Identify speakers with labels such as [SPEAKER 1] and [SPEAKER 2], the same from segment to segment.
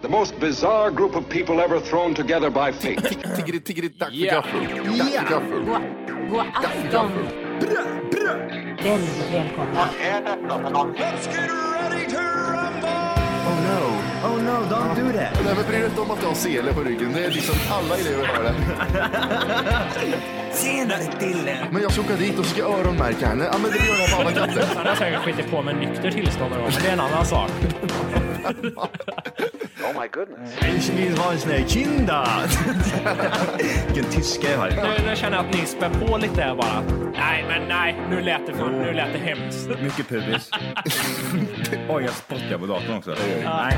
[SPEAKER 1] The most bizarre group of people ever thrown together by fate.
[SPEAKER 2] Tiggeri, tiggeri, dack för
[SPEAKER 3] Ja.
[SPEAKER 2] gaffel. Dack för gaffel.
[SPEAKER 4] God, god afton. Väldigt välkomna.
[SPEAKER 2] Oh no.
[SPEAKER 5] Oh no, don't do that.
[SPEAKER 2] Nej men bry dig inte om att du har sele på ryggen. Det är liksom alla elever har det.
[SPEAKER 5] Senare Dille.
[SPEAKER 2] Men jag ska åka dit och ska öronmärka henne. Ja men det gör jag på alla katter.
[SPEAKER 3] Han har säkert skitit på med nykter tillstånd någon gång, men det är en annan sak.
[SPEAKER 5] Jag vill ha en sån här kinda. Vilken tyska jag har.
[SPEAKER 3] Nu, nu känner jag att ni spär på lite här bara. Nej, men nej, nu lät det för, nu lät det hemskt.
[SPEAKER 6] Mycket pubis. Oj, jag spottar på datorn också. Nej,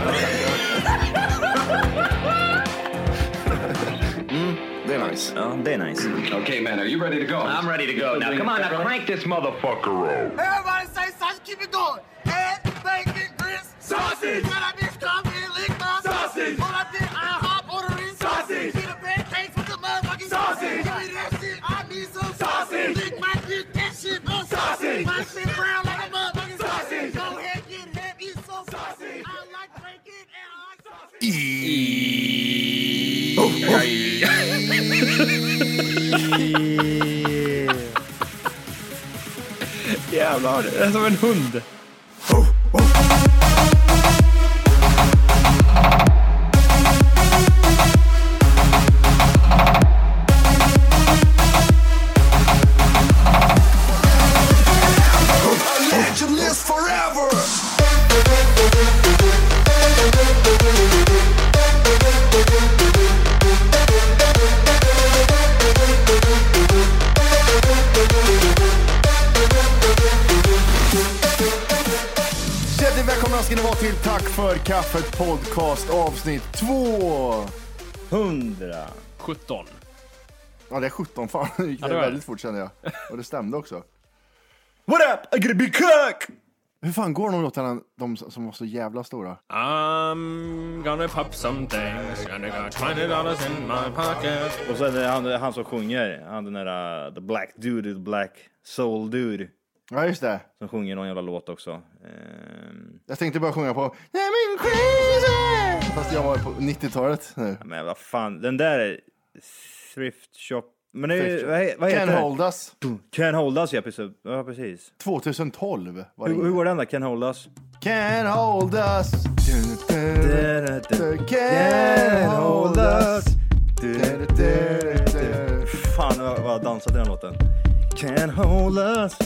[SPEAKER 2] Det är nice.
[SPEAKER 6] ja, det är nice.
[SPEAKER 1] okay, man, are you ready to go?
[SPEAKER 7] I'm ready to go now. Come on, now crank this motherfucker up.
[SPEAKER 8] Everybody say sausage, keep it going. Head, bacon, grits, sausage. When I did stop and lick my sausage. When I did, I hop on the wrist. Sausage. Get a pancakes with the motherfucking sausage. Give me that shit, I need some sausage. Lick my dick, that shit, no sausage. My shit brown like a motherfucking sausage. Go ahead, get head, eat some sausage. I like bacon and I like sausage.
[SPEAKER 6] Jävlar, det är som en hund.
[SPEAKER 2] Hjärtligt välkomna ska ni vara till Tack för kaffet podcast avsnitt två.
[SPEAKER 6] Hundra.
[SPEAKER 3] 17.
[SPEAKER 2] Ja det är 17 fan. Det gick
[SPEAKER 3] Ja, det var
[SPEAKER 2] väldigt
[SPEAKER 3] det.
[SPEAKER 2] fort kände jag. Och det stämde också.
[SPEAKER 6] What up? I gotta be cook!
[SPEAKER 2] Hur fan går de låtarna, de som var så jävla stora?
[SPEAKER 3] I'm gonna pop some things and I got 20 dollars in my pocket.
[SPEAKER 6] Och så är det han, han som sjunger, han den där uh, the black dude, the black soul dude.
[SPEAKER 2] Ja just det.
[SPEAKER 6] Som sjunger någon jävla låt också. Ehm,
[SPEAKER 2] Jag tänkte bara sjunga på Nej men crazy! Fast jag var på 90-talet nu.
[SPEAKER 6] men vad fan, den där är thrift shop. Men det,
[SPEAKER 2] Thrift
[SPEAKER 6] är-
[SPEAKER 2] shop.
[SPEAKER 6] vad, he- vad heter
[SPEAKER 2] Can
[SPEAKER 6] det?
[SPEAKER 2] hold us.
[SPEAKER 6] Can hold us, ja precis. Ja, precis.
[SPEAKER 2] 2012 var det.
[SPEAKER 6] Hur, hur går den där? Can hold us?
[SPEAKER 2] Can hold us. Du, du, du.
[SPEAKER 6] Can hold us.
[SPEAKER 2] Du-du-du-du.
[SPEAKER 6] Fan vad vad jag dansat till den låten. Can hold us.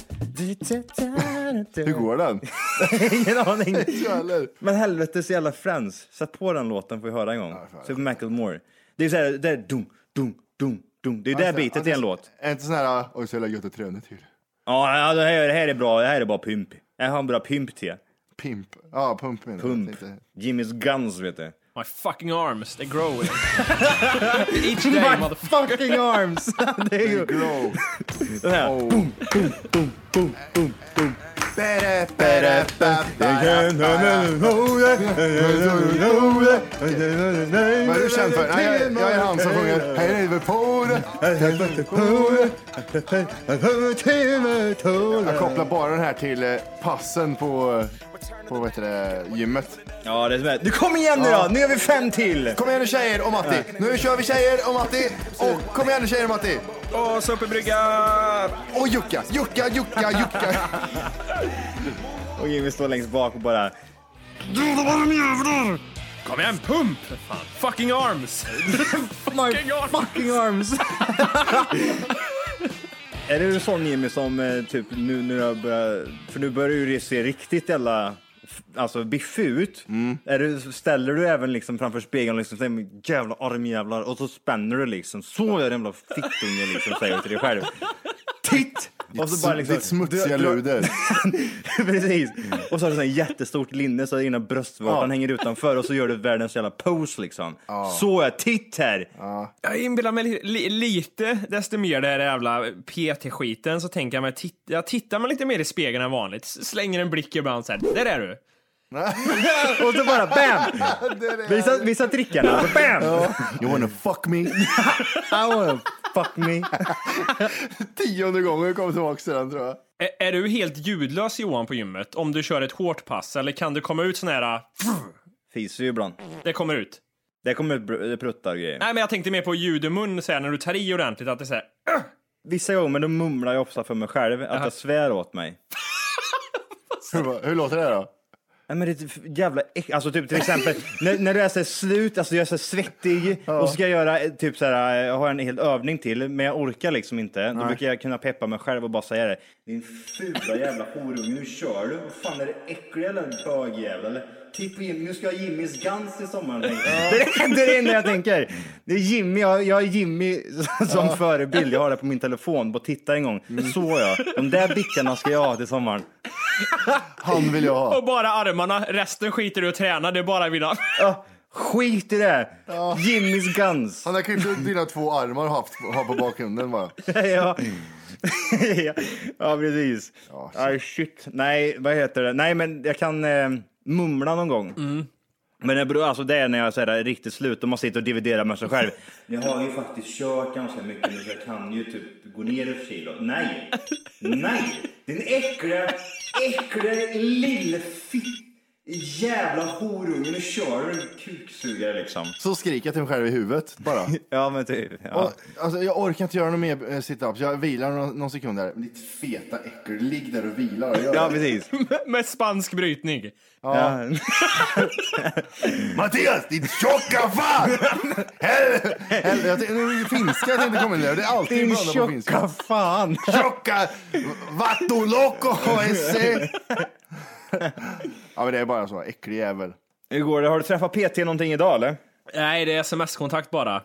[SPEAKER 2] Hur går den?
[SPEAKER 6] Ingen aning.
[SPEAKER 2] Eller?
[SPEAKER 6] Men helvetes jävla Friends. Sätt på den låten får vi höra en gång. Super Michael Moore. Det är så här, det är dum, dum, dum, dum. Det är det bitet i en låt.
[SPEAKER 2] Är inte sån här, oj så jävla gött att träna till.
[SPEAKER 6] Ja, ja, det här, det här är bra. Det här är bara pimp. Jag har en bra pimp till.
[SPEAKER 2] Pimp. Ja, pump menar jag.
[SPEAKER 6] Pump.
[SPEAKER 2] Inte-
[SPEAKER 6] Jimmy's Guns vet du.
[SPEAKER 3] My fucking arms, they growing. Each day,
[SPEAKER 6] My
[SPEAKER 3] motherfucker.
[SPEAKER 6] fucking arms! det är ju...
[SPEAKER 2] Grow.
[SPEAKER 6] Den här.
[SPEAKER 2] Oh. Bada, bada, ba, bada, bada. Vad är du känd för? Nej, jag, jag är han som sjunger Hej Liverpool. Jag kopplar bara den här till eh, passen på, eh, på vad heter det, gymmet.
[SPEAKER 6] Ja, det är som är... Du kom igen nu då! Nu gör vi fem till!
[SPEAKER 2] Kom igen nu tjejer och Matti. Nu kör vi tjejer och Matti. Och kom igen nu tjejer och Matti.
[SPEAKER 6] Åh, Superbrygga!
[SPEAKER 2] Och Jukka, Jukka, Jukka, Jukka.
[SPEAKER 6] Och Jimmy står längst bak och bara...
[SPEAKER 3] Kom igen, pump! för Fan. Fucking arms! fucking arms!
[SPEAKER 6] Fucking arms! är du sån Jimmy som eh, typ nu när jag börjar... För nu börjar ju det se riktigt jävla... f- Alltså biffig ut.
[SPEAKER 2] Mm.
[SPEAKER 6] Är du, ställer du även liksom framför spegeln och liksom säger "Men jävla armjävlar och så spänner du liksom. Så gör en jävla fittunge liksom säger du till dig själv. Titt! Och så bara liksom-
[SPEAKER 2] Ditt smutsiga
[SPEAKER 6] du- du-
[SPEAKER 2] luder.
[SPEAKER 6] Precis. Och så har du sån här jättestort linne så dina bröstvårtan
[SPEAKER 2] Ja.
[SPEAKER 6] hänger utanför och så gör du världens jävla pose liksom. Så är titt här!
[SPEAKER 3] Jag inbillar mig li- li- lite, desto mer det här jävla PT-skiten, så tänker jag mig, titt- jag tittar mig lite mer i spegeln än vanligt. S- Slänger en blick ibland såhär, där är du!
[SPEAKER 6] Och så bara bam! Visa, visa trickarna, och bam!
[SPEAKER 2] You wanna fuck me?
[SPEAKER 6] I wanna fuck me.
[SPEAKER 2] Tionde gången jag kommer tillbaka till den tror jag.
[SPEAKER 3] Ä- är du helt ljudlös Johan på gymmet om du kör ett hårt pass eller kan du komma ut sån här äh,
[SPEAKER 6] Fiser ju ibland.
[SPEAKER 3] Det kommer ut.
[SPEAKER 6] Det kommer ut br- det pruttar grejer.
[SPEAKER 3] Nej, men jag tänkte mer på ljud i mun så här, när du tar i ordentligt, att det är så här,
[SPEAKER 6] Vissa gånger, men då mumlar jag ofta för mig själv att jag svär åt mig.
[SPEAKER 2] Hur, hur låter det då?
[SPEAKER 6] Nej, men det är ett jävla äck- Alltså typ till exempel när, när du är så här slut, alltså jag är så här svettig och ska jag göra eh, typ så här, jag har en hel övning till, men jag orkar liksom inte. Då brukar jag kunna peppa mig själv och bara säga det. Din fula jävla horunge, nu kör du. Vad fan är det äcklig eller bögjävel? Eller, Tipp på Jimmy, nu ska jag ha Jimmys Guns i sommar. Det är det- det är det enda jag tänker. Det är Jimmy, jag, jag är Jimmy som förebild. Jag har det på min telefon, bara titta en gång. Så ja, de där bickarna ska jag ha till sommaren.
[SPEAKER 2] Han vill jag ha.
[SPEAKER 3] och bara armarna, resten skiter du och tränar, det är bara vinna.
[SPEAKER 6] Ja, skit i det! Jimmys Guns.
[SPEAKER 2] Han har klippt ut dina två armar och haft, ha på bakgrunden bara.
[SPEAKER 6] ja. ja, precis. Ja, shit. Nej, vad heter det? Nej, men jag kan eh, mumla någon gång. Men det, beror, alltså det är när jag är så här, riktigt slut och man sitter och dividerar med sig själv. Jag har ju faktiskt kört ganska mycket nu så jag kan ju typ gå ner ett kilo. Nej! Nej! Din äckliga, äckliga lillfitt... Jävla horunge, nu kör du kuksugare liksom.
[SPEAKER 2] Så skriker jag till mig själv i huvudet bara.
[SPEAKER 6] Ja men typ. Ja.
[SPEAKER 2] Och, alltså, jag orkar inte göra några mer eh, situps. Jag vilar någon, någon sekund där. Men Ditt feta äckel, ligg där och vila. och gör
[SPEAKER 6] ja
[SPEAKER 2] det.
[SPEAKER 6] precis.
[SPEAKER 3] Med spansk brytning.
[SPEAKER 6] Ja.
[SPEAKER 2] Mattias, din tjocka fan! Hel- hel- jag tänkte- nu är det finska jag tänkte komma in där. Det är alltid
[SPEAKER 6] Din
[SPEAKER 2] ibland på finska.
[SPEAKER 6] tjocka fan!
[SPEAKER 2] Tjocka vattuloco esse. E. Ja men det är bara så, äcklig jävel.
[SPEAKER 6] Hur går det? Har du träffat PT någonting idag eller?
[SPEAKER 3] Nej, det är sms-kontakt bara.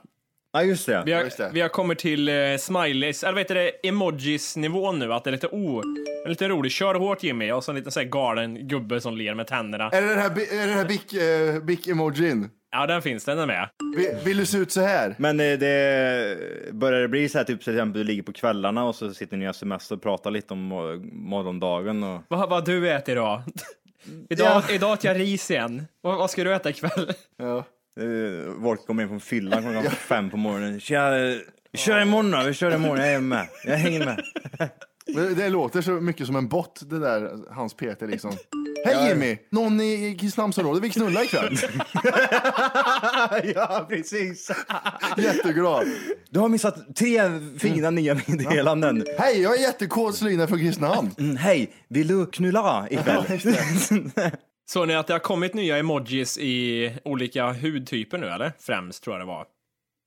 [SPEAKER 6] Ja just det.
[SPEAKER 3] Vi
[SPEAKER 2] Ja, just det.
[SPEAKER 3] har, vi har kommit till eh, smileys, eller vad heter det, emojis-nivån nu, att det är lite o... en lite rolig. Kör hårt Jimmy, och så en liten så här galen gubbe som ler med tänderna.
[SPEAKER 2] Är det den här, bi- är det den här bic, eh, bic-emojin?
[SPEAKER 3] Ja, den finns, den är med.
[SPEAKER 2] Vi- Vill du se ut så här?
[SPEAKER 6] Men eh, det börjar det bli så här typ till exempel du ligger på kvällarna och så sitter ni och sms och pratar lite om mor- morgondagen och...
[SPEAKER 3] Vad vad du äter idag? idag, idag åt jag ris igen. Vad, vad ska du äta ikväll?
[SPEAKER 6] Eh, Folk kommer in från fyllan klockan fem på morgonen. Tja, eh, vi kör imorgon då, vi kör imorgon, jag är med. Jag hänger med.
[SPEAKER 2] Det, det låter så mycket som en bot, det där, hans Peter liksom. Hej Jimmy! Någon i Kristinehamnsområdet vill knulla ikväll.
[SPEAKER 6] ja precis.
[SPEAKER 2] Jätteglad.
[SPEAKER 6] Du har missat tre fina nya meddelanden.
[SPEAKER 2] Hej, jag är jättekåt Slyna från Kristinehamn.
[SPEAKER 6] Mm, hej, vill du knulla ikväll?
[SPEAKER 3] Såg ni att det har kommit nya emojis i olika hudtyper nu eller? Främst tror jag det var.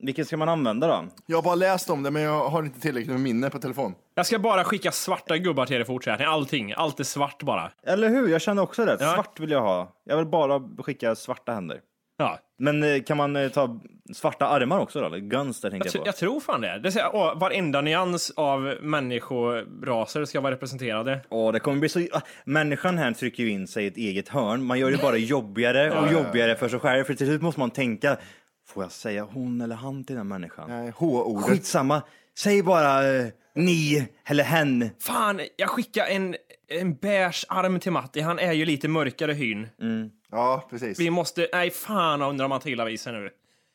[SPEAKER 6] Vilken ska man använda då?
[SPEAKER 2] Jag har bara läst om det, men jag har inte tillräckligt med minne på telefon.
[SPEAKER 3] Jag ska bara skicka svarta gubbar till er i fortsättningen. Allting, allt är svart bara.
[SPEAKER 6] Eller hur? Jag känner också det.
[SPEAKER 3] Ja.
[SPEAKER 6] Svart vill jag ha. Jag vill bara skicka svarta händer.
[SPEAKER 3] Ja,
[SPEAKER 6] Men eh, kan man eh, ta svarta armar också då? Eller Guns där tänkte
[SPEAKER 3] jag,
[SPEAKER 6] jag,
[SPEAKER 3] tr-
[SPEAKER 6] på.
[SPEAKER 3] jag tror fan det. det är så här, åh, varenda nyans av människoraser ska vara representerade.
[SPEAKER 6] Åh, det kommer bli så... ah, Människan här trycker ju in sig i ett eget hörn. Man gör det bara jobbigare och jobbigare för sig själv. För till slut måste man tänka, får jag säga hon eller han till den människan?
[SPEAKER 2] Nej, Eh, H-ordet.
[SPEAKER 6] Skitsamma, säg bara eh, ni eller hen.
[SPEAKER 3] Fan, jag skickar en, en beige arm till Matti. Han är ju lite mörkare hyn.
[SPEAKER 2] Ja, precis.
[SPEAKER 3] Vi måste... Nej, fan jag undrar om han tar illa vid sig nu.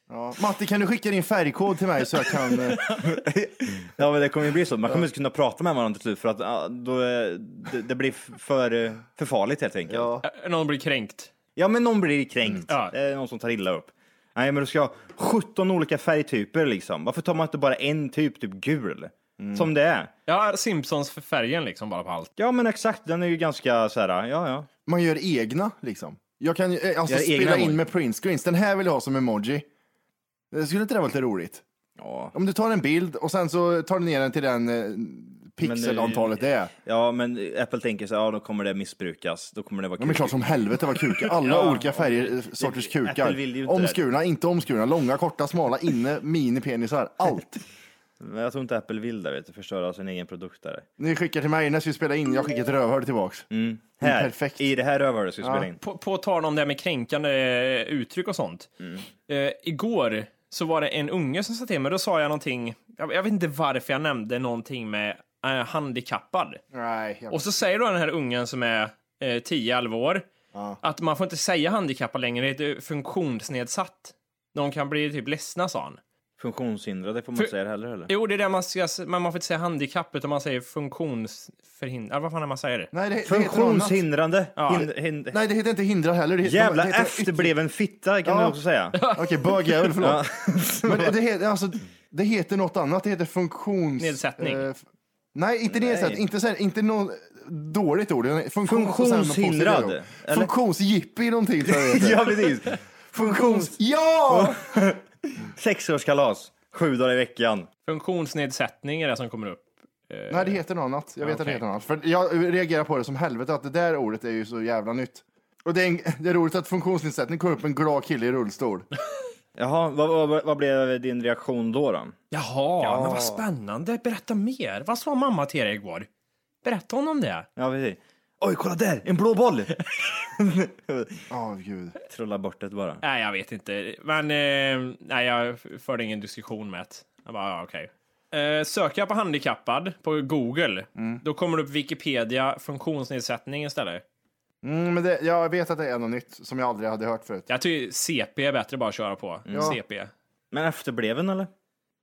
[SPEAKER 2] Ja. Matti, kan du skicka din färgkod till mig så jag kan... eh,
[SPEAKER 6] Ja, men det kommer ju bli så. Man kommer inte kunna prata med varandra till slut för att ah, då, eh, det, det blir f- för, eh, för farligt helt enkelt.
[SPEAKER 3] Ä- Någon blir kränkt.
[SPEAKER 6] Ja, men någon blir kränkt.
[SPEAKER 3] Ja.
[SPEAKER 6] Det är någon som tar illa upp. Nej, men du ska ha 17 olika färgtyper liksom. Varför tar man inte bara en typ, typ gul? Som det är.
[SPEAKER 3] Ja, Simpsons för färgen liksom bara på allt.
[SPEAKER 6] Ja, men exakt. Den är ju ganska så här, ja, ja.
[SPEAKER 2] Man gör egna, liksom. Jag kan ju, eh, alltså,
[SPEAKER 6] Gör egna
[SPEAKER 2] spela in
[SPEAKER 6] emoji.
[SPEAKER 2] med printscreens. Den här vill jag ha som emoji. Det skulle inte det vara lite roligt?
[SPEAKER 6] Ja,
[SPEAKER 2] Om du tar en bild och sen så tar du ner den till den eh, pixelantalet det är.
[SPEAKER 6] ja men Apple tänker så här, ja, då kommer det missbrukas. Då kommer det vara
[SPEAKER 2] Ja, men klart som helvete vad kukar. Alla olika färger, eh, sorters
[SPEAKER 6] Apple
[SPEAKER 2] kukar.
[SPEAKER 6] vill ju inte det.
[SPEAKER 2] Omskurna, inte omskurna, långa, korta, smala, inne, minipenisar. Allt.
[SPEAKER 6] Men jag tror inte Apple vill det, vet du, förstöra sin egen produkt där.
[SPEAKER 2] Ni skickar till mig när jag ska spela in. Jag skickar ett rövhål tillbaks.
[SPEAKER 6] Mm. Här,
[SPEAKER 2] perfekt.
[SPEAKER 6] i det här rövhålet ska vi spela in.
[SPEAKER 3] På, på tal om det här med kränkande eh, uttryck och sånt. Eh, igår så var det en unge som sa till mig, då sa jag någonting, jag, jag vet inte varför jag nämnde någonting med eh, handikappad.
[SPEAKER 2] Nej, jag...
[SPEAKER 3] Och så säger då den här ungen som är eh, 10-11 år att man får inte säga handikappad längre, det är funktionsnedsatt. Någon kan bli typ ledsna, sa han.
[SPEAKER 6] funktionshindrade får man
[SPEAKER 3] För-
[SPEAKER 6] säga det heller eller?
[SPEAKER 3] Jo, det är det man ska, s- men man får inte säga handikapp utan man säger funktionsförhindrad. Vad fan är man säger?
[SPEAKER 2] Nej, det, det heter något annat.
[SPEAKER 6] Funktionshindrande.
[SPEAKER 3] Ja.
[SPEAKER 6] Hin, hin,
[SPEAKER 2] Nej, det heter inte hindra heller. Det heter,
[SPEAKER 6] jävla
[SPEAKER 2] det heter
[SPEAKER 6] efterbliven fitta kan
[SPEAKER 2] Ja.
[SPEAKER 6] man också säga.
[SPEAKER 2] ytter- Okej, bögjävel, förlåt. Men det, det, heter, alltså, det heter något annat. Det heter funktions...
[SPEAKER 3] Nedsättning.
[SPEAKER 2] eh, f- nej, inte nedsättning. Inte, så här, inte något dåligt ord. Funktions- och sen något positivt
[SPEAKER 6] Funktionshindrad,
[SPEAKER 2] ord.
[SPEAKER 6] eller?
[SPEAKER 2] Funktionsjippi någonting tror jag det heter.
[SPEAKER 6] ja precis.
[SPEAKER 2] Funktions... Ja!
[SPEAKER 6] Sexårskalas. Sju dagar i veckan.
[SPEAKER 3] Funktionsnedsättning är det som kommer upp.
[SPEAKER 2] Nej, det heter något annat. Jag vet att det
[SPEAKER 3] okej.
[SPEAKER 2] heter något annat. För jag reagerar på det som helvete att det där ordet är ju så jävla nytt. Och det är, en, det är roligt att funktionsnedsättning kom upp en glad kille i rullstol.
[SPEAKER 6] Jaha, vad, vad, vad blev din reaktion då? då?
[SPEAKER 3] Jaha, men vad spännande. Berätta mer. Vad sa mamma till er igår? Berätta hon om det.
[SPEAKER 6] Ja, precis. Oj, kolla där! En blå boll!
[SPEAKER 2] Åh, gud.
[SPEAKER 6] Trolla bort det bara.
[SPEAKER 3] Nej, jag vet inte. Men eh, nej, jag förde ingen diskussion med det. Jag bara, ja, okej. Eh, söker jag på handikappad på Google, då kommer det upp Wikipedia funktionsnedsättning istället.
[SPEAKER 2] Mm, men det, jag vet att det är något nytt som jag aldrig hade hört förut.
[SPEAKER 3] Jag tycker CP är bättre bara att köra på. CP.
[SPEAKER 6] Men efterbleven eller? Mm.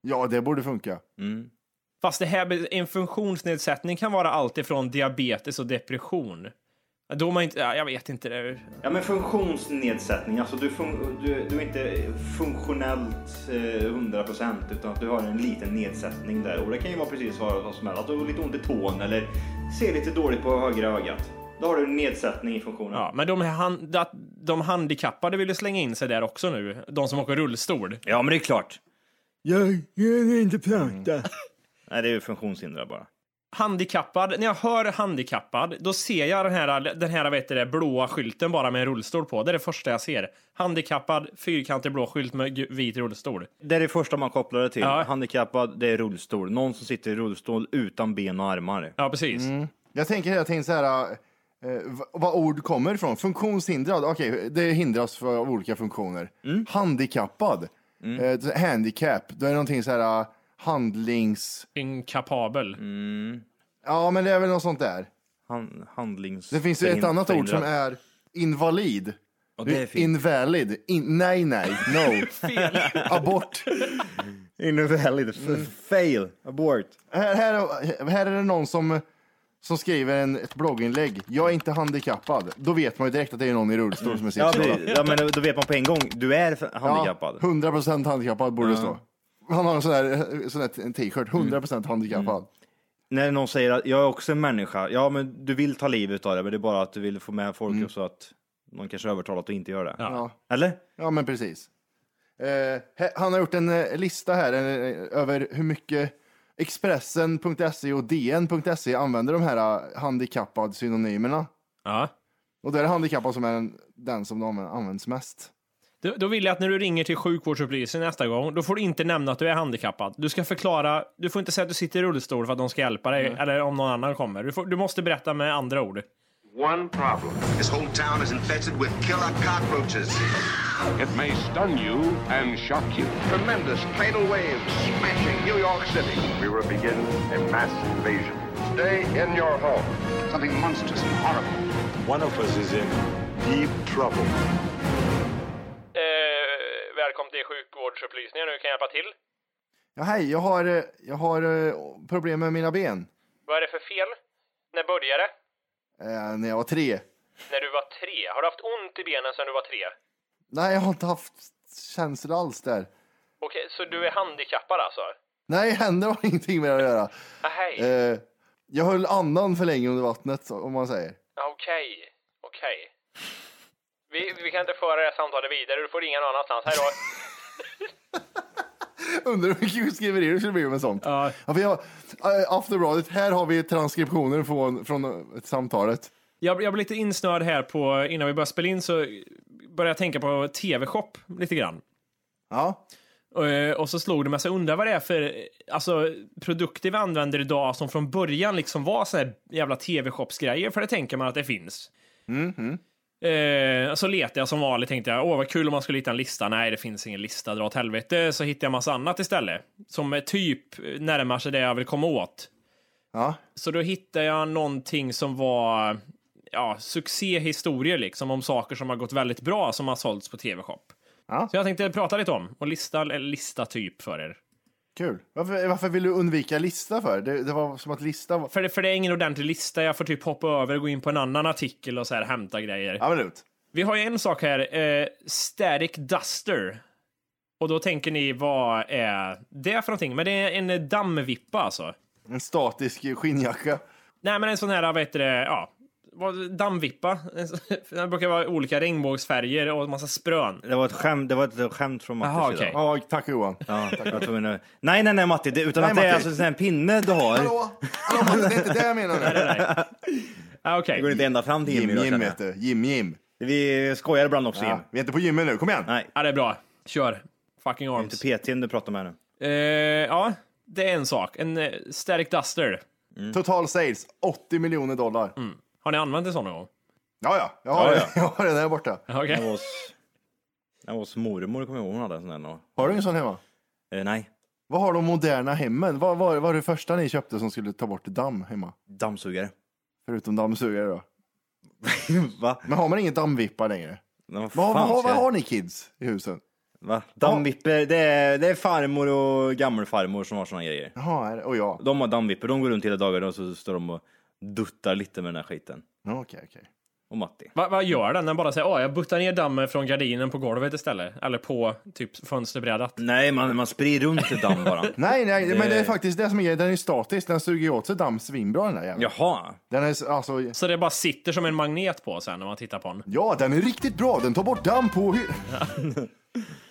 [SPEAKER 2] Ja, det borde funka.
[SPEAKER 3] Fast det här, med- en funktionsnedsättning kan vara allt ifrån diabetes och depression. Då man inte, ja, jag vet inte. Det är-
[SPEAKER 6] Ja, men funktionsnedsättning. Alltså, du, fun- du, du är inte funktionellt eh, 100 procent utan att du har en liten nedsättning där. Och det kan ju vara precis vad vad som helst. Att du har lite ont i tån eller ser lite dåligt på högra ögat. Då har du en nedsättning i funktionen.
[SPEAKER 3] Ja, men de, här han, att de handikappade vill ju slänga in sig där också nu. De som åker rullstol.
[SPEAKER 6] Ja, men det är klart. Mm.
[SPEAKER 5] Jag kan inte prata.
[SPEAKER 6] Nej, det är ju funktionshinder bara.
[SPEAKER 3] handikappad, när jag hör handikappad, då ser jag den här, den här vet du, det, blåa skylten bara med en rullstol på. Det är det första jag ser. Handikappad, fyrkantig blå skylt med gu- vit rullstol.
[SPEAKER 6] Det är det första man kopplar det till.
[SPEAKER 3] Ja.
[SPEAKER 6] Handikappad, det är rullstol. Någon som sitter i rullstol utan ben och armar.
[SPEAKER 3] Ja, precis.
[SPEAKER 2] Jag tänker hela tiden så här, eh, v- vad ord kommer ifrån. Funktionshindrad, okej, det hindras för olika funktioner. Handikappad, eh, handicap, då är det någonting så här eh, handlings...
[SPEAKER 3] Inkapabel.
[SPEAKER 2] Ja, men det är väl något sånt där.
[SPEAKER 6] Han, handlings...
[SPEAKER 2] Det finns ju ett
[SPEAKER 6] förhin-
[SPEAKER 2] annat ord som
[SPEAKER 6] förhindrad.
[SPEAKER 2] är invalid.
[SPEAKER 6] Och det är fint.
[SPEAKER 2] Invalid. In, nej, nej. No. Abort.
[SPEAKER 6] Invalid. F-
[SPEAKER 2] Mm.
[SPEAKER 6] Fail. Abort.
[SPEAKER 2] Här, här, här är det någon som, som skriver en, ett blogginlägg. Jag är inte handikappad. Då vet man ju direkt att det är någon i rullstol som är
[SPEAKER 6] Ja,
[SPEAKER 2] sittande.
[SPEAKER 6] precis. ja, men då vet man på en gång. Du är f- handikappad.
[SPEAKER 2] 100 procent handikappad borde det stå. Han har en sån där, sån där t-shirt.
[SPEAKER 6] Mm.
[SPEAKER 2] 100 procent handikappad.
[SPEAKER 6] När någon säger att jag är också en människa. Ja, men du vill ta livet av det, men det är bara att du vill få med folk så att någon kanske övertalar att du inte gör det.
[SPEAKER 3] Ja.
[SPEAKER 6] Eller?
[SPEAKER 2] Mm. Ja, men precis. Eh, he- han har gjort en eh, lista här eh, över hur mycket Expressen.se E och DN.se E använder de här eh, handikappad-synonymerna.
[SPEAKER 3] Ja.
[SPEAKER 2] Och då är det handikappad som är den, den som de använder, används mest.
[SPEAKER 3] Då, då vill jag att när du ringer till sjukvårdsupplysningen nästa gång, då får du inte nämna att du är handikappad. Du ska förklara, du får inte säga att du sitter i rullstol för att de ska hjälpa dig, eller om någon annan kommer. Du, får, du måste berätta med andra ord.
[SPEAKER 7] One problem.
[SPEAKER 4] This whole town is infested with killer cockroaches.
[SPEAKER 1] It may stun you and shock you.
[SPEAKER 4] Tremendous tidal waves smashing New York City.
[SPEAKER 7] We will begin a mass invasion.
[SPEAKER 4] Stay in your home. Something monstrous and horrible.
[SPEAKER 7] One of us is in deep trouble.
[SPEAKER 3] Eh, välkommen till sjukvårdsupplysningen, hur kan jag hjälpa till?
[SPEAKER 2] Ja, hej, jag har, eh, jag har eh, problem med mina ben.
[SPEAKER 3] Vad är det för fel? När började det?
[SPEAKER 2] Eh, när jag var tre.
[SPEAKER 3] När du var tre? Har du haft ont i benen sedan du var tre?
[SPEAKER 2] Nej, jag har inte haft känsla alls där.
[SPEAKER 3] Okej, så du är handikappad alltså?
[SPEAKER 2] Nej, händer har ingenting med det att göra.
[SPEAKER 3] Ah, hej.
[SPEAKER 2] Eh, jag höll andan för länge under vattnet, om man säger.
[SPEAKER 3] Ah, Okej, okej. Vi, vi kan inte föra det här samtalet vidare, du får ringa någon annanstans. Hej då.
[SPEAKER 2] Undrar hur mycket skriverier det skulle bli med sånt. Ja. vi har, eh, Aftonbladet, här har vi transkriptioner från, från eh, samtalet.
[SPEAKER 3] Jag, jag blir lite insnörd här på, innan vi börjar spela in så började jag tänka på TV-shop lite grann.
[SPEAKER 2] Ja.
[SPEAKER 3] Eh, Och så slog det mig, så jag undrar vad det är för eh, alltså, produkter vi använder idag som från början liksom var såna här jävla tv-shopsgrejer, för det tänker man att det finns. Eh, så letade jag som vanligt, tänkte jag, åh vad kul om man skulle hitta en lista. Nej, det finns ingen lista, dra åt helvete. Så hittade jag massa annat istället, som eh, typ eh, närmar sig det jag vill komma åt.
[SPEAKER 2] Ja.
[SPEAKER 3] Så då hittade jag någonting som var ja, succéhistorier liksom, om saker som har gått väldigt bra som har sålts på tv-shop.
[SPEAKER 2] Ja.
[SPEAKER 3] Så jag tänkte prata lite om och lista, eller lista typ för er.
[SPEAKER 2] Kul. Varför, varför vill du undvika lista för? Det, det var som att lista var...
[SPEAKER 3] För det, för det är ingen ordentlig lista, jag får typ hoppa över och gå in på en annan artikel och så här hämta grejer.
[SPEAKER 2] Ja, men ut.
[SPEAKER 3] Vi har ju en sak här, eh, Static Duster. Och då tänker ni, vad är det för någonting? Men det är en dammvippa alltså.
[SPEAKER 2] En statisk skinnjacka.
[SPEAKER 3] Nej, men en sån här, vad heter det, ja, vad- dammvippa. Det brukar vara olika regnbågsfärger och en massa sprön.
[SPEAKER 6] Det var ett skämt, det var ett skämt från Mattis
[SPEAKER 3] Jaha,
[SPEAKER 6] sida.
[SPEAKER 3] okej.
[SPEAKER 2] Ja, tack Johan.
[SPEAKER 6] Ja, jag tror nu. Nej, nej, nej Matti, det, utan
[SPEAKER 2] Nej,
[SPEAKER 6] att det är
[SPEAKER 2] Matti.
[SPEAKER 6] alltså en sån här pinne du har.
[SPEAKER 2] Hallå? Hallå, Matte, det är inte det jag menar nu.
[SPEAKER 3] Nej, nej. Ah, okej.
[SPEAKER 6] Det går inte ända fram till Jimmy.
[SPEAKER 2] Jim,
[SPEAKER 6] då,
[SPEAKER 2] Jim
[SPEAKER 6] känner jag.
[SPEAKER 2] heter det. Jim, Jim.
[SPEAKER 6] Vi skojar ibland också, Jim.
[SPEAKER 2] Ja, vi är inte på gymmet nu, kom igen.
[SPEAKER 6] Nej.
[SPEAKER 3] Ja, det är bra. Kör. Fucking
[SPEAKER 6] Det är
[SPEAKER 3] arms.
[SPEAKER 6] inte PT'n du pratar om här nu.
[SPEAKER 3] Eh, ja, det är en sak. En eh, Static Duster.
[SPEAKER 6] Mm.
[SPEAKER 2] Total sales, 80 miljoner dollar.
[SPEAKER 3] Har ni använt en sån någon gång?
[SPEAKER 2] Ja, ja, jag har,
[SPEAKER 6] Ja,
[SPEAKER 2] den- jag har den där borta.
[SPEAKER 3] Okej.
[SPEAKER 6] Jag var hos, jag var hos mormor, kommer jag ihåg, hon hade en sån där. någon-
[SPEAKER 2] Har du en sån hemma?
[SPEAKER 6] Eh, nej,
[SPEAKER 2] Vad har de moderna hemmen? Vad vad- vad var det första ni köpte som skulle ta bort damm hemma?
[SPEAKER 6] dammsugare.
[SPEAKER 2] Förutom dammsugare då.
[SPEAKER 6] Va?
[SPEAKER 2] Men har man ingen dammvippa längre?
[SPEAKER 6] Men vad
[SPEAKER 2] Vad,
[SPEAKER 6] fan
[SPEAKER 2] vad,
[SPEAKER 6] ska
[SPEAKER 2] vad
[SPEAKER 6] jag-
[SPEAKER 2] har ni kids i husen?
[SPEAKER 6] Va? Dammvipper, det är, det är farmor och gammelfarmor som har såna grejer.
[SPEAKER 2] Jaha, är det- och jag.
[SPEAKER 6] De har dammvipper, de går runt hela dagarna och så står de och duttar lite med den här skiten.
[SPEAKER 2] Ja, Okej, okej.
[SPEAKER 6] Och Matti.
[SPEAKER 3] Vad vad gör den? Den bara säger åh, jag buttar ner dammen från gardinen på golvet istället. Eller på typ fönsterbrädat.
[SPEAKER 6] Nej, man, man sprider runt damm bara.
[SPEAKER 2] Nej, nej, men det är faktiskt det som är grejen. Den är statisk. Den suger ju åt sig damm svinbra den där jäveln.
[SPEAKER 6] Jaha.
[SPEAKER 2] Den är s- alltså...
[SPEAKER 3] Så det bara sitter som en magnet på sen när man tittar på den.
[SPEAKER 2] Ja, den är riktigt bra. Den tar bort damm på... hy-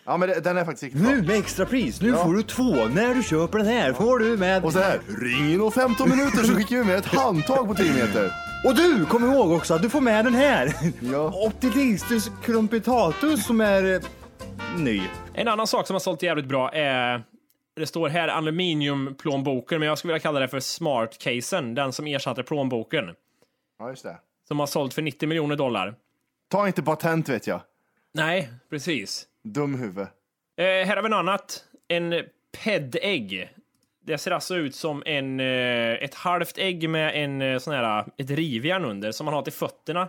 [SPEAKER 2] ja, men det- den är faktiskt riktigt bra.
[SPEAKER 6] Nu med extra pris, nu får du två. När du köper den här får du med...
[SPEAKER 2] Och så här, ring inom 15 minuter så skickar vi med ett handtag på 10 meter.
[SPEAKER 6] Och du, kom ihåg också att du får med den här.
[SPEAKER 2] Ja.
[SPEAKER 6] Optilistus crumpitatus som är eh, ny.
[SPEAKER 3] En annan sak som har sålt jävligt bra är det står här aluminiumplånboken, men jag skulle vilja kalla det för smart-casen, den som ersatte plånboken,
[SPEAKER 2] Ja, just det.
[SPEAKER 3] som har sålt för 90 miljoner dollar.
[SPEAKER 2] Ta inte patent vet jag.
[SPEAKER 3] Nej, precis.
[SPEAKER 2] Dum huvud.
[SPEAKER 3] Eh, här har vi något annat. En pedägg. Det ser alltså ut som en, eh, ett halvt ägg med en eh, sån här, ett rivjärn under som man har till fötterna.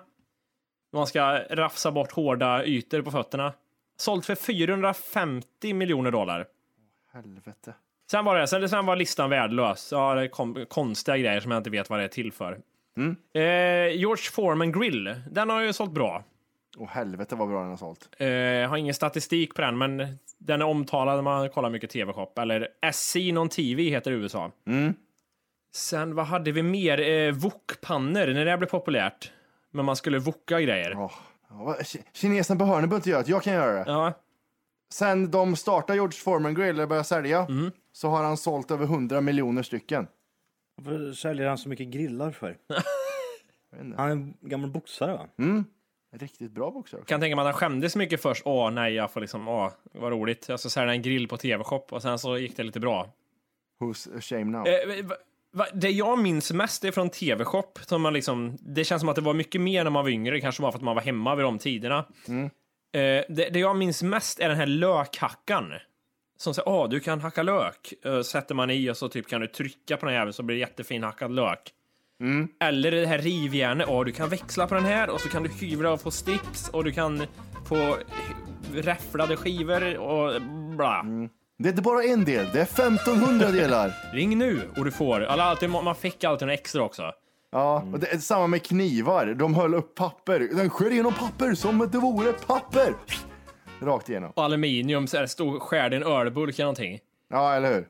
[SPEAKER 3] Man ska rafsa bort hårda ytor på fötterna. Sålt för 450 miljoner dollar.
[SPEAKER 2] Helvete.
[SPEAKER 3] Sen var, det, sen, sen var listan värdelös. Ja, det kom konstiga grejer som jag inte vet vad det är till för. Eh, George Foreman Grill, den har ju sålt bra.
[SPEAKER 2] Åh helvete vad bra den har sålt.
[SPEAKER 3] Eh, jag har ingen statistik på den, men den är omtalad när man kollar mycket TV-shop. Eller SC någon TV heter det i USA. Sen vad hade vi mer? Eh, Wokpannor, när det blev populärt. Men man skulle woka grejer. Ja.
[SPEAKER 2] Åh. Ja, vad- ki- Kinesen på hörnet behöver inte göra det, jag kan göra det. Sen de startade George Foreman Grill och började sälja så har han sålt över 100 miljoner stycken.
[SPEAKER 6] Varför säljer han så mycket grillar för? han är en gammal boxare va?
[SPEAKER 2] Riktigt bra boxare också.
[SPEAKER 3] Kan tänka mig att han skämdes mycket först. Åh nej, jag får liksom, åh, vad roligt. Jag ska sälja en grill på TV-shop och sen så gick det lite bra.
[SPEAKER 2] Who's ashamed now?
[SPEAKER 3] Eh, va- va- Det jag minns mest är från TV-shop. Som man liksom, det känns som att det var mycket mer när man var yngre, kanske bara för att man var hemma vid de tiderna. Eh, Det, det jag minns mest är den här lökhackan. Som säger, ah, du kan hacka lök. Eh, Sätter man i och så typ kan du trycka på den här jäveln så blir det jättefin hackad lök. Eller det här rivjärnet, ah, du kan växla på den här och så kan du hyvla och få sticks och du kan få räfflade skivor och bla.
[SPEAKER 2] Det är inte bara en del, det är 1500 delar.
[SPEAKER 3] Ring nu och du får. Eller alltid, man fick alltid något extra också.
[SPEAKER 2] Ja, och det är samma med knivar. De höll upp papper. Den skär igenom papper som att det vore papper. Rakt igenom.
[SPEAKER 3] Och aluminium, så här, stod, skärde en ölburk eller någonting.
[SPEAKER 2] Ja, eller hur?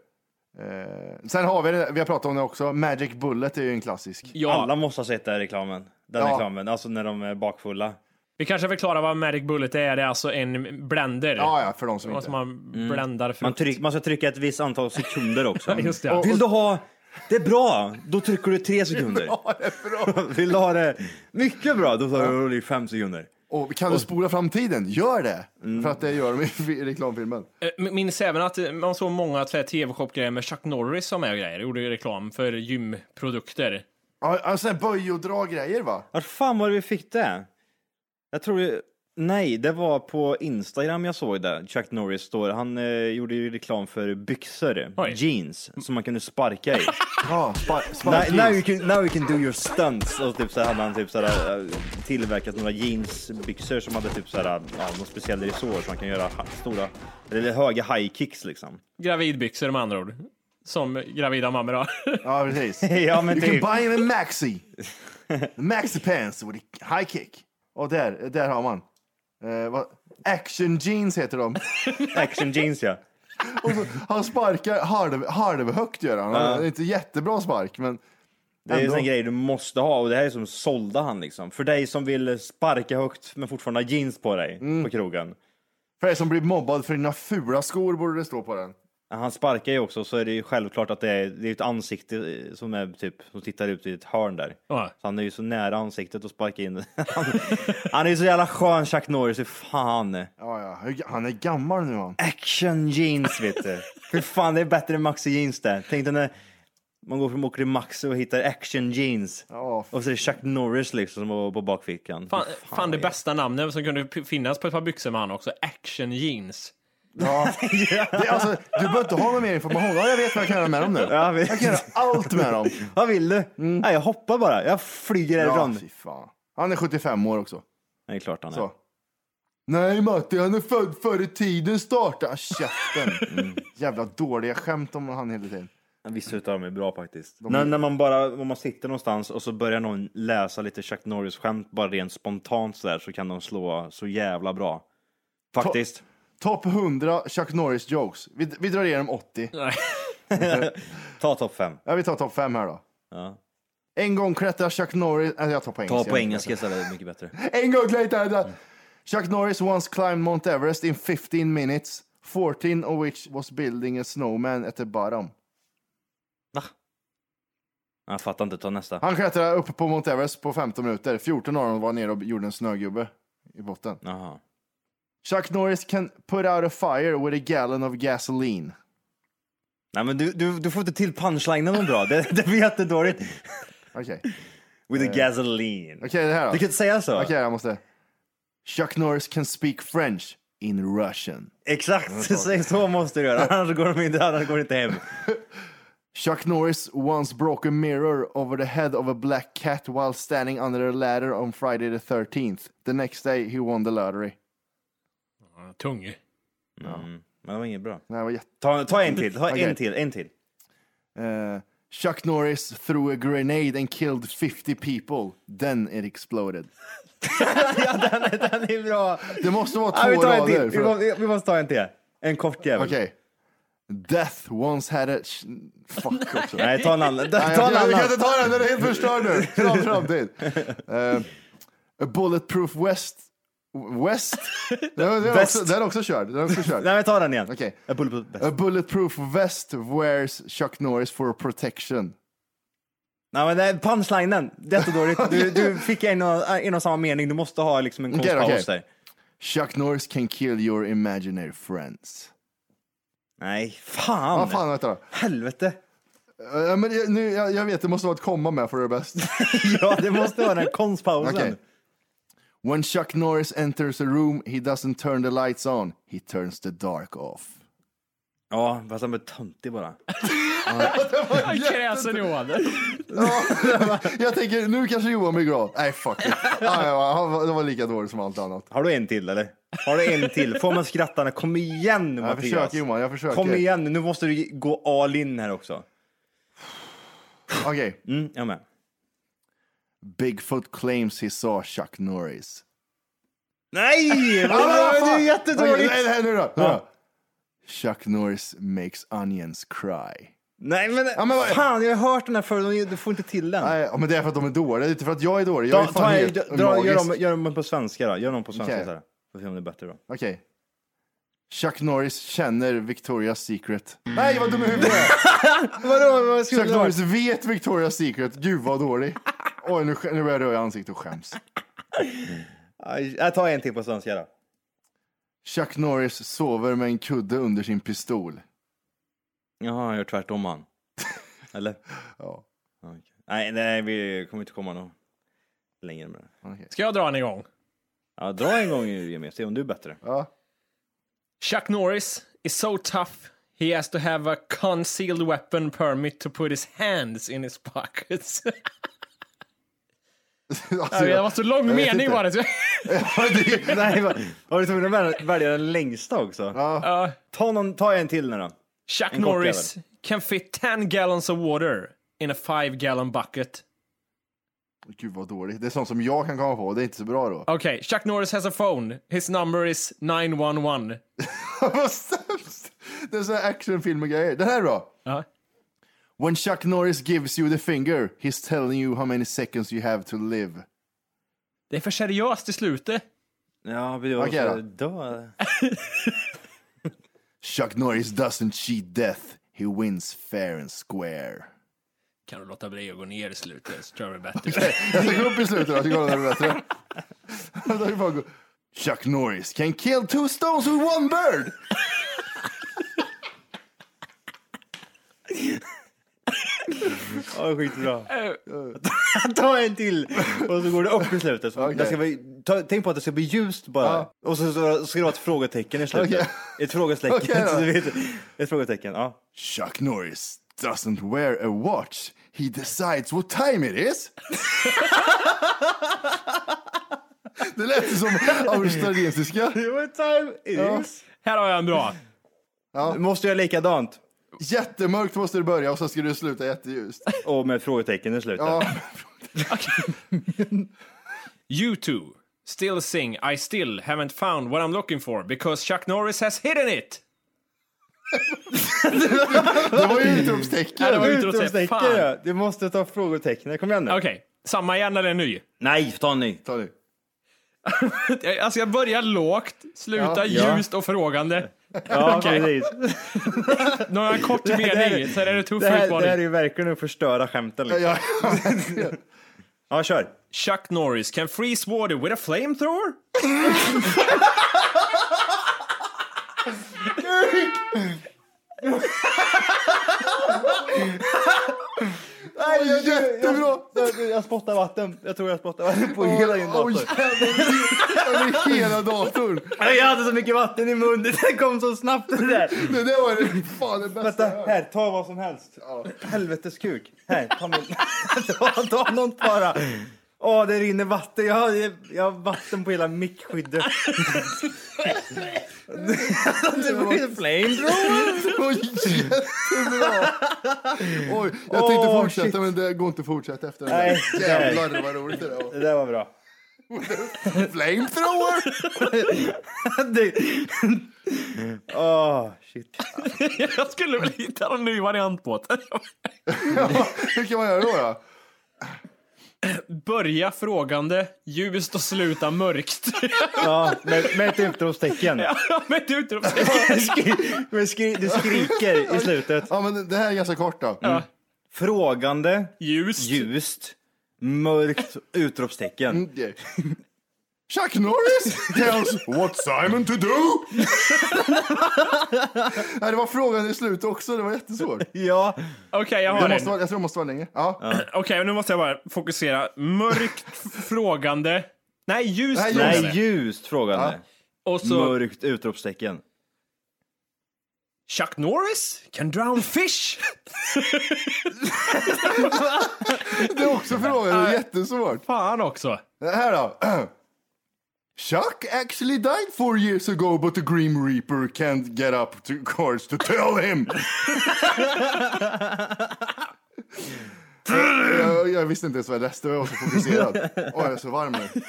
[SPEAKER 2] Eh, sen har vi det, vi har pratat om det också, Magic Bullet är ju en klassisk.
[SPEAKER 3] Ja,
[SPEAKER 6] Alla måste ha sett den här reklamen. Den
[SPEAKER 2] Ja.
[SPEAKER 6] reklamen, alltså när de är bakfulla.
[SPEAKER 3] vi kanske förklarar vad Magic Bullet är. Det är alltså en blender.
[SPEAKER 2] Ja, ja, för de som
[SPEAKER 3] Något som
[SPEAKER 2] inte...
[SPEAKER 3] man bländar frukt.
[SPEAKER 6] Man, tryck, man ska trycka ett visst antal sekunder också.
[SPEAKER 3] Just det.
[SPEAKER 6] Vill du ha... Det är bra! Då trycker du tre sekunder. Vill du ha det mycket bra, då tar du fem sekunder.
[SPEAKER 2] Och Mm. kan du spola fram tiden? Gör det! För att det gör de i fi- reklamfilmen.
[SPEAKER 3] Eh, men Minns även att eh, man såg många så här tv-shop-grejer med Chuck Norris som är grejer. Gjorde ju reklam för gymprodukter.
[SPEAKER 2] Ja, Alltså böj och dra grejer va?
[SPEAKER 6] Var fan var det vi fick det? Jag tror det... Nej, det var på Instagram jag såg det. Chuck Norris står, han eh, gjorde ju reklam för byxor,
[SPEAKER 3] Oj.
[SPEAKER 6] jeans, som man kunde sparka i.
[SPEAKER 2] Ja, spa-
[SPEAKER 6] now,
[SPEAKER 2] sparkis.
[SPEAKER 6] now, you can, now you can do your stunts. Och typ så hade han typ så här, eh, tillverkat några jeansbyxor som hade typ så här, ja, någon speciell resår som man kan göra ha- stora, eller höga high kicks liksom.
[SPEAKER 3] Gravidbyxor med andra ord. Som gravida mammor har.
[SPEAKER 2] Ja, precis.
[SPEAKER 6] Ja, men
[SPEAKER 2] you
[SPEAKER 6] typ.
[SPEAKER 2] can buy him a maxi. maxi pants with a high kick. Och där, där har man. Eh, vad? Action jeans heter de.
[SPEAKER 6] Action jeans ja.
[SPEAKER 2] Och så, han sparkar halv, halvhögt gör han. han. har Inte jättebra spark, men
[SPEAKER 6] Det är
[SPEAKER 2] Ändå.
[SPEAKER 6] en sån grej du måste ha och det här är som sålde han liksom. För dig som vill sparka högt men fortfarande ha jeans på dig
[SPEAKER 2] Mm.
[SPEAKER 6] på krogen.
[SPEAKER 2] för dig som blir mobbad för dina fula skor borde det stå på den.
[SPEAKER 6] Han sparkar ju också så är det ju självklart att det är, det är ett ansikte eh, som är typ som tittar ut i ett hörn där.
[SPEAKER 3] Ja.
[SPEAKER 6] Så han är ju så nära ansiktet och sparkar in. han, han är ju så jävla skön Chuck Norris, hur fan.
[SPEAKER 2] Ja, ja. hur- Han är gammal nu han.
[SPEAKER 6] Action jeans vet du. Hur fan det är bättre än Maxi jeans det. Tänk dig när man går från åker till Maxi och hittar action jeans.
[SPEAKER 2] Ja, f-
[SPEAKER 6] Och så är det Chuck Norris liksom som var på bakfickan.
[SPEAKER 3] Fan,
[SPEAKER 6] Hur
[SPEAKER 3] fan det
[SPEAKER 6] är-
[SPEAKER 3] bästa namnet som kunde p- finnas på ett par byxor med han också. Action jeans.
[SPEAKER 2] ja. Det, är alltså, du behöver inte ha någon mer information. Ja, jag vet vad jag kan göra med dem nu.
[SPEAKER 6] Ja, vi- Mm.
[SPEAKER 2] Jag kan göra allt med dem.
[SPEAKER 6] Vad vill du? Nej, jag hoppar bara. Jag flyger
[SPEAKER 2] Ja,
[SPEAKER 6] härifrån.
[SPEAKER 2] fy fan. Han är 75 år också.
[SPEAKER 6] det är klart han är.
[SPEAKER 2] Så. Nej Matti, han är född före tiden starta. Ah, Käften. Jävla dåliga skämt om han hela tiden.
[SPEAKER 6] Vissa utav dem är bra faktiskt. När, när man bara om man sitter någonstans och så börjar någon läsa lite Chuck Norris-skämt bara rent spontant så där så kan de slå så jävla bra. Faktiskt.
[SPEAKER 2] Topp 100 Chuck Norris jokes. Vi, vi drar igenom 80.
[SPEAKER 3] Nej.
[SPEAKER 6] Ta topp fem.
[SPEAKER 2] Ja, vi tar topp 5 här då.
[SPEAKER 6] Ja.
[SPEAKER 2] En gång klättrar Chuck Norris... Äh, jag tar på engelska.
[SPEAKER 6] Ta på engelska istället, mycket bättre.
[SPEAKER 2] En gång klättrar... Chuck Norris once climbed Mount Everest in 15 minutes. 14 of which was building a snowman at the bottom.
[SPEAKER 6] Jag fattar inte, ta nästa.
[SPEAKER 2] Han klättrade upp på Mount Everest på 15 minuter. 14 av dem var nere och gjorde en snögubbe i botten.
[SPEAKER 6] Jaha.
[SPEAKER 2] Chuck Norris can put out a fire with a gallon of gasoline.
[SPEAKER 6] Nej men du, du, du får inte till punchlinen bra, det, det blir jättedåligt.
[SPEAKER 2] Okej,
[SPEAKER 6] With the gasoline.
[SPEAKER 2] Eh. okej det här då.
[SPEAKER 6] Du kan
[SPEAKER 2] Okej,
[SPEAKER 6] inte säga så.
[SPEAKER 2] jag måste. Chuck Norris can speak French in Russian.
[SPEAKER 6] Exakt, så, så måste du göra. Annars går de inte, annars går det inte hem.
[SPEAKER 2] Chuck Norris once broke a mirror over the head of a black cat while standing under a ladder on Friday the 13th. The next day he won the lottery.
[SPEAKER 3] Tung.
[SPEAKER 6] Men det var inget bra.
[SPEAKER 2] Det här var jätte...
[SPEAKER 6] Ta, ta en till, ta
[SPEAKER 2] Okej.
[SPEAKER 6] en till, en till.
[SPEAKER 2] Eh, Chuck Norris threw a grenade and killed 50 people. Then it exploded.
[SPEAKER 6] Den är bra.
[SPEAKER 2] Det måste vara
[SPEAKER 6] Ja, vi
[SPEAKER 2] två
[SPEAKER 6] tar en till.
[SPEAKER 2] rader.
[SPEAKER 6] Vi,
[SPEAKER 2] för att-
[SPEAKER 6] må- vi måste ta en till. En kort jävel.
[SPEAKER 2] Okej. Death once had a... sh- Fuck också.
[SPEAKER 6] Nej, ta en annan. Ta
[SPEAKER 2] Nej,
[SPEAKER 6] en
[SPEAKER 2] jag, jag, kan
[SPEAKER 6] annan.
[SPEAKER 2] inte ta den, den är helt förstörd nu. Kram framtid. Eh, a bulletproof west... West? Den den är också,
[SPEAKER 6] Väst.
[SPEAKER 2] den är också körd. Den är också körd.
[SPEAKER 6] Nej, men ta den igen.
[SPEAKER 2] Okej.
[SPEAKER 6] A bulletproof vest.
[SPEAKER 2] A bulletproof vest wears Chuck Norris for protection.
[SPEAKER 6] Nej, men det är punchlinen. Jättedåligt. Du, du fick en och, en och samma mening. Du måste ha liksom en
[SPEAKER 2] Okej,
[SPEAKER 6] konstpaus
[SPEAKER 2] okej.
[SPEAKER 6] där.
[SPEAKER 2] Chuck Norris can kill your imaginary friends.
[SPEAKER 6] Nej, Ah, fan.
[SPEAKER 2] Vad fan heter det?
[SPEAKER 6] Helvete.
[SPEAKER 2] Eh, men jag, nu, jag, jag vet, det måste vara ett komma med för det bäst.
[SPEAKER 6] Ja, det måste vara den konstpausen.
[SPEAKER 2] Okej. When Chuck Norris enters a room he doesn't turn the lights on, he turns the dark off.
[SPEAKER 6] Ja, fast han blev töntig bara.
[SPEAKER 3] Han kräsen Johan.
[SPEAKER 2] Jag tänker, nu kanske Johan blir glad. Nej, fuck it. Ah, ja, han var- det var lika dåligt som allt annat.
[SPEAKER 6] Har du en till eller? Har du en till? Får man skratta? nu? Kom igen nu
[SPEAKER 2] Jag
[SPEAKER 6] Mattias.
[SPEAKER 2] försöker Johan, jag försöker.
[SPEAKER 6] Kom igen nu. Nu måste du gå all in här också.
[SPEAKER 2] Okej.
[SPEAKER 6] Mm, jag med.
[SPEAKER 2] Bigfoot claims he saw Chuck Norris.
[SPEAKER 6] Nej! Vad bra, det är jättedåligt!
[SPEAKER 2] Okej, nej, nej, nu då. Nu då. Chuck Norris makes onions cry.
[SPEAKER 6] Nej men,
[SPEAKER 2] men vad-
[SPEAKER 6] fan jag har hört den här förut, du får inte till den.
[SPEAKER 2] Nej, ja, men det är för att de är dåliga, det är inte för att jag är dålig. Jag
[SPEAKER 6] Ta,
[SPEAKER 2] är
[SPEAKER 6] ta,
[SPEAKER 2] fan helt
[SPEAKER 6] dra, dra, gör,
[SPEAKER 2] magisk.
[SPEAKER 6] dem, gör dem på svenska då, gör dem på svenska
[SPEAKER 2] Okej.
[SPEAKER 6] så här. Får se om det är bättre då.
[SPEAKER 2] Okej. Chuck Norris känner Victoria's Secret. Nej, vad dum i huvudet jag är.
[SPEAKER 6] Vadå, vad
[SPEAKER 2] Chuck Norris vet Victoria's Secret. Gud vad dålig. Oj, nu, sk- nu börjar jag röra i ansiktet och skäms.
[SPEAKER 6] Jag tar en till på svenska då.
[SPEAKER 2] Chuck Norris sover med en kudde under sin pistol.
[SPEAKER 6] Jaha, jag gör tvärtom han. Eller?
[SPEAKER 2] Ja.
[SPEAKER 6] Okej. Nej, nej, vi kommer inte komma någon längre med det.
[SPEAKER 3] Ska jag dra en igång?
[SPEAKER 6] Ja, dra en gång Jimmy, se om du är bättre.
[SPEAKER 3] Chuck Norris is so tough he has to have a concealed weapon permit to put his hands in his pockets.
[SPEAKER 2] Alltså,
[SPEAKER 3] det var så lång
[SPEAKER 2] jag vet
[SPEAKER 3] mening
[SPEAKER 2] inte.
[SPEAKER 3] var det.
[SPEAKER 6] Nej, va- var du tvungen att väl- välja den längsta också?
[SPEAKER 3] Ja.
[SPEAKER 6] Ta, någon, ta en till nu då.
[SPEAKER 3] Chuck
[SPEAKER 6] En kort
[SPEAKER 3] Norris can fit 10 gallons of water in a 5 gallon bucket.
[SPEAKER 2] Gud vad dåligt. Det är sånt som jag kan komma på. Det är inte så bra då.
[SPEAKER 3] Okay, Chuck Norris has a phone. His number is 911.
[SPEAKER 2] Vad sämst! Det är så här actionfilm och grejer. Det här då?
[SPEAKER 3] Ja.
[SPEAKER 2] When Chuck Norris gives you the finger, he's telling you how many seconds you have to live.
[SPEAKER 3] Det är för seriöst i slutet.
[SPEAKER 6] Ja, vi gör
[SPEAKER 2] Okej då.
[SPEAKER 6] så- då.
[SPEAKER 2] Chuck Norris doesn't cheat death. He wins fair and square.
[SPEAKER 3] Kan du låta bli att gå ner i slutet så tror jag det är bättre.
[SPEAKER 2] Jag ska gå upp i slutet. Jag tycker det är bättre. Jag tycker fan gå- Chuck Norris can kill two stones with one bird.
[SPEAKER 6] Ja, skitbra. Eh. ta en till och så går det upp i slutet. Så
[SPEAKER 2] Okej.
[SPEAKER 6] det ska bli, ta, tänk på att det ska bli ljust bara. Och så, så ska det vara ett frågetecken i slutet.
[SPEAKER 2] Okej.
[SPEAKER 6] Ett frågetecken.
[SPEAKER 2] Okej då.
[SPEAKER 6] så du vet, ett frågetecken, ja.
[SPEAKER 2] Chuck Norris doesn't wear a watch. He decides what time it is. det lät ju som australiensiska.
[SPEAKER 6] What time it
[SPEAKER 2] Ja.
[SPEAKER 6] is?
[SPEAKER 3] Här har jag en bra.
[SPEAKER 6] Du Måste göra likadant.
[SPEAKER 2] Jättemörkt måste du börja och sen ska du sluta jätteljust.
[SPEAKER 6] Och med ett frågetecken i slutet.
[SPEAKER 2] Ja,
[SPEAKER 3] You two still sing I still haven't found what I'm looking for because Chuck Norris has hidden it.
[SPEAKER 2] det var ju utropstecken.
[SPEAKER 3] Nej, det var inte att säga.
[SPEAKER 6] Utropstecken
[SPEAKER 3] Fan.
[SPEAKER 6] ja. Du måste ta frågetecken. Kom igen nu.
[SPEAKER 3] Okej, samma igen eller en ny?
[SPEAKER 6] Nej, ta en ny.
[SPEAKER 2] Ta nu.
[SPEAKER 3] Alltså jag börjar lågt, slutar
[SPEAKER 6] Ja.
[SPEAKER 3] ljust och frågande.
[SPEAKER 6] Ja,
[SPEAKER 3] Okej.
[SPEAKER 6] precis.
[SPEAKER 3] Nu har jag en kort mening, sen är det tuff
[SPEAKER 6] Det här, det här är
[SPEAKER 3] utmaning.
[SPEAKER 6] ju verkligen att förstöra skämten. Liksom.
[SPEAKER 2] Ja,
[SPEAKER 6] Ja, kör.
[SPEAKER 3] Chuck Norris can freeze water with a flamethrower?
[SPEAKER 2] jättebra!
[SPEAKER 6] Jag, jag spottar vatten. Jag tror jag spottar vatten på hela din dator.
[SPEAKER 2] Åh, jävlar, över hela datorn.
[SPEAKER 6] Nej, Jag hade så mycket vatten i munnen. Det kom så snabbt det där.
[SPEAKER 2] Det där var det, fan det bästa
[SPEAKER 6] Vänta,
[SPEAKER 2] jag hört.
[SPEAKER 6] här, ta vad som helst. Helvetes kuk. Här, ta min... ta, ta något bara. Åh, det rinner vatten. Jag har, jag har vatten på hela mickskyddet. det var ju flamethrower.
[SPEAKER 2] Det var jättebra! Oj, jag tänkte
[SPEAKER 6] Åh,
[SPEAKER 2] fortsätta
[SPEAKER 6] shit.
[SPEAKER 2] men det går inte att fortsätta efter det
[SPEAKER 6] Nej,
[SPEAKER 2] där. Jävlar vad roligt det där var.
[SPEAKER 6] Det där var bra.
[SPEAKER 2] Flamethrower!
[SPEAKER 6] Det- Åh, shit.
[SPEAKER 3] Jag skulle väl hitta någon ny variant på det.
[SPEAKER 2] Hur kan man göra då? då?
[SPEAKER 3] Börja frågande, ljust och sluta mörkt.
[SPEAKER 6] Ja, med, med ett utropstecken.
[SPEAKER 3] Men du utropstecken.
[SPEAKER 6] Skri- men skri- du skriker i slutet.
[SPEAKER 2] Ja men det här är ganska kort då. Mm.
[SPEAKER 6] Frågande,
[SPEAKER 3] Ljust.
[SPEAKER 6] ljust, mörkt utropstecken.
[SPEAKER 2] Okej. Mm. Chuck Norris tells what Simon to do! Nej, det var frågan i slutet också, det var jättesvårt.
[SPEAKER 6] Ja,
[SPEAKER 3] Okej, jag har
[SPEAKER 2] Det
[SPEAKER 3] en.
[SPEAKER 2] måste vara, jag tror det måste vara länge. Ja.
[SPEAKER 3] Okej, nu måste jag bara fokusera. Mörkt frågande. Nej, ljust
[SPEAKER 2] Nej,
[SPEAKER 3] frågande.
[SPEAKER 6] nej, ljust frågande.
[SPEAKER 3] Och så
[SPEAKER 6] Mörkt utropstecken.
[SPEAKER 3] Chuck Norris can drown fish.
[SPEAKER 2] Det är också frågan, det är jättesvårt.
[SPEAKER 3] Fan också.
[SPEAKER 2] Det här då. Chuck actually died four years ago but the Grim Reaper can't get up to course to tell him. jag, jag visste inte ens vad jag läste, jag var så fokuserad. Oj, jag är så varm nu.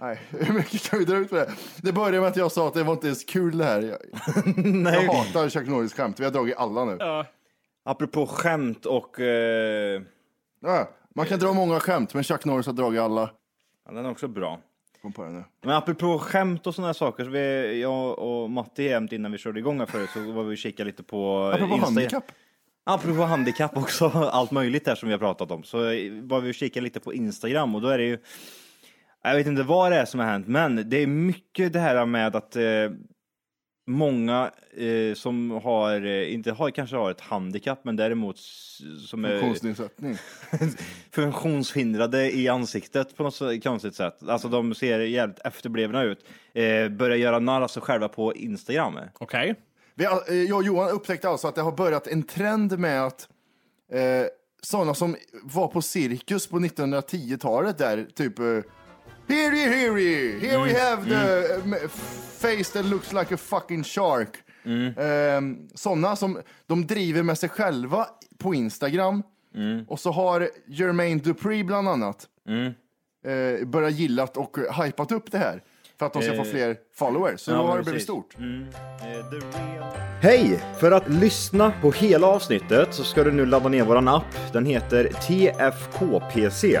[SPEAKER 2] Nej, hur mycket kan vi dra ut på det? Det började med att jag sa att det var inte ens kul det här. Jag, jag hatar Chuck Norris skämt, vi har dragit alla nu.
[SPEAKER 6] Apropå skämt och... Eh,
[SPEAKER 2] Ja, man kan dra många skämt, men Chuck Norris har dragit alla.
[SPEAKER 6] ja, den är också bra.
[SPEAKER 2] Kom på det nu.
[SPEAKER 6] Men apropå skämt och sådana saker, så vi, jag och Matti jämt innan vi körde igång här förut så var vi och kikade lite på
[SPEAKER 2] Apropå
[SPEAKER 6] Insta-
[SPEAKER 2] handikapp.
[SPEAKER 6] Apropå handikapp också, allt möjligt här som vi har pratat om, så var vi och kikade lite på Instagram och då är det ju, jag vet inte vad det är som har hänt, men det är mycket det här med att eh, många eh, som har, eh, inte har, kanske har ett handikapp, men däremot s- som är
[SPEAKER 2] Funktionsnedsättning.
[SPEAKER 6] funktionshindrade i ansiktet på något så konstigt sätt. Alltså de ser jävligt efterblivna ut. Eh, börjar göra narr av sig själva på Instagram.
[SPEAKER 3] Okej.
[SPEAKER 2] Vi, har- eh, jag och Johan upptäckte alltså att det har börjat en trend med att eh, sådana som var på cirkus på 1910-talet där, typ eh, Here you, here you, here we have the eh, m- face that looks like a fucking shark. Mm. sådana som de driver med sig själva på Instagram. Och så har Jermaine Dupri bland annat eh, börjat gillat och hypat upp det här för att de ska få fler followers. Så då har det blivit
[SPEAKER 6] precis.
[SPEAKER 2] stort.
[SPEAKER 6] Hej! För att lyssna på hela avsnittet så ska du nu ladda ner våran app. Den heter TFKPC.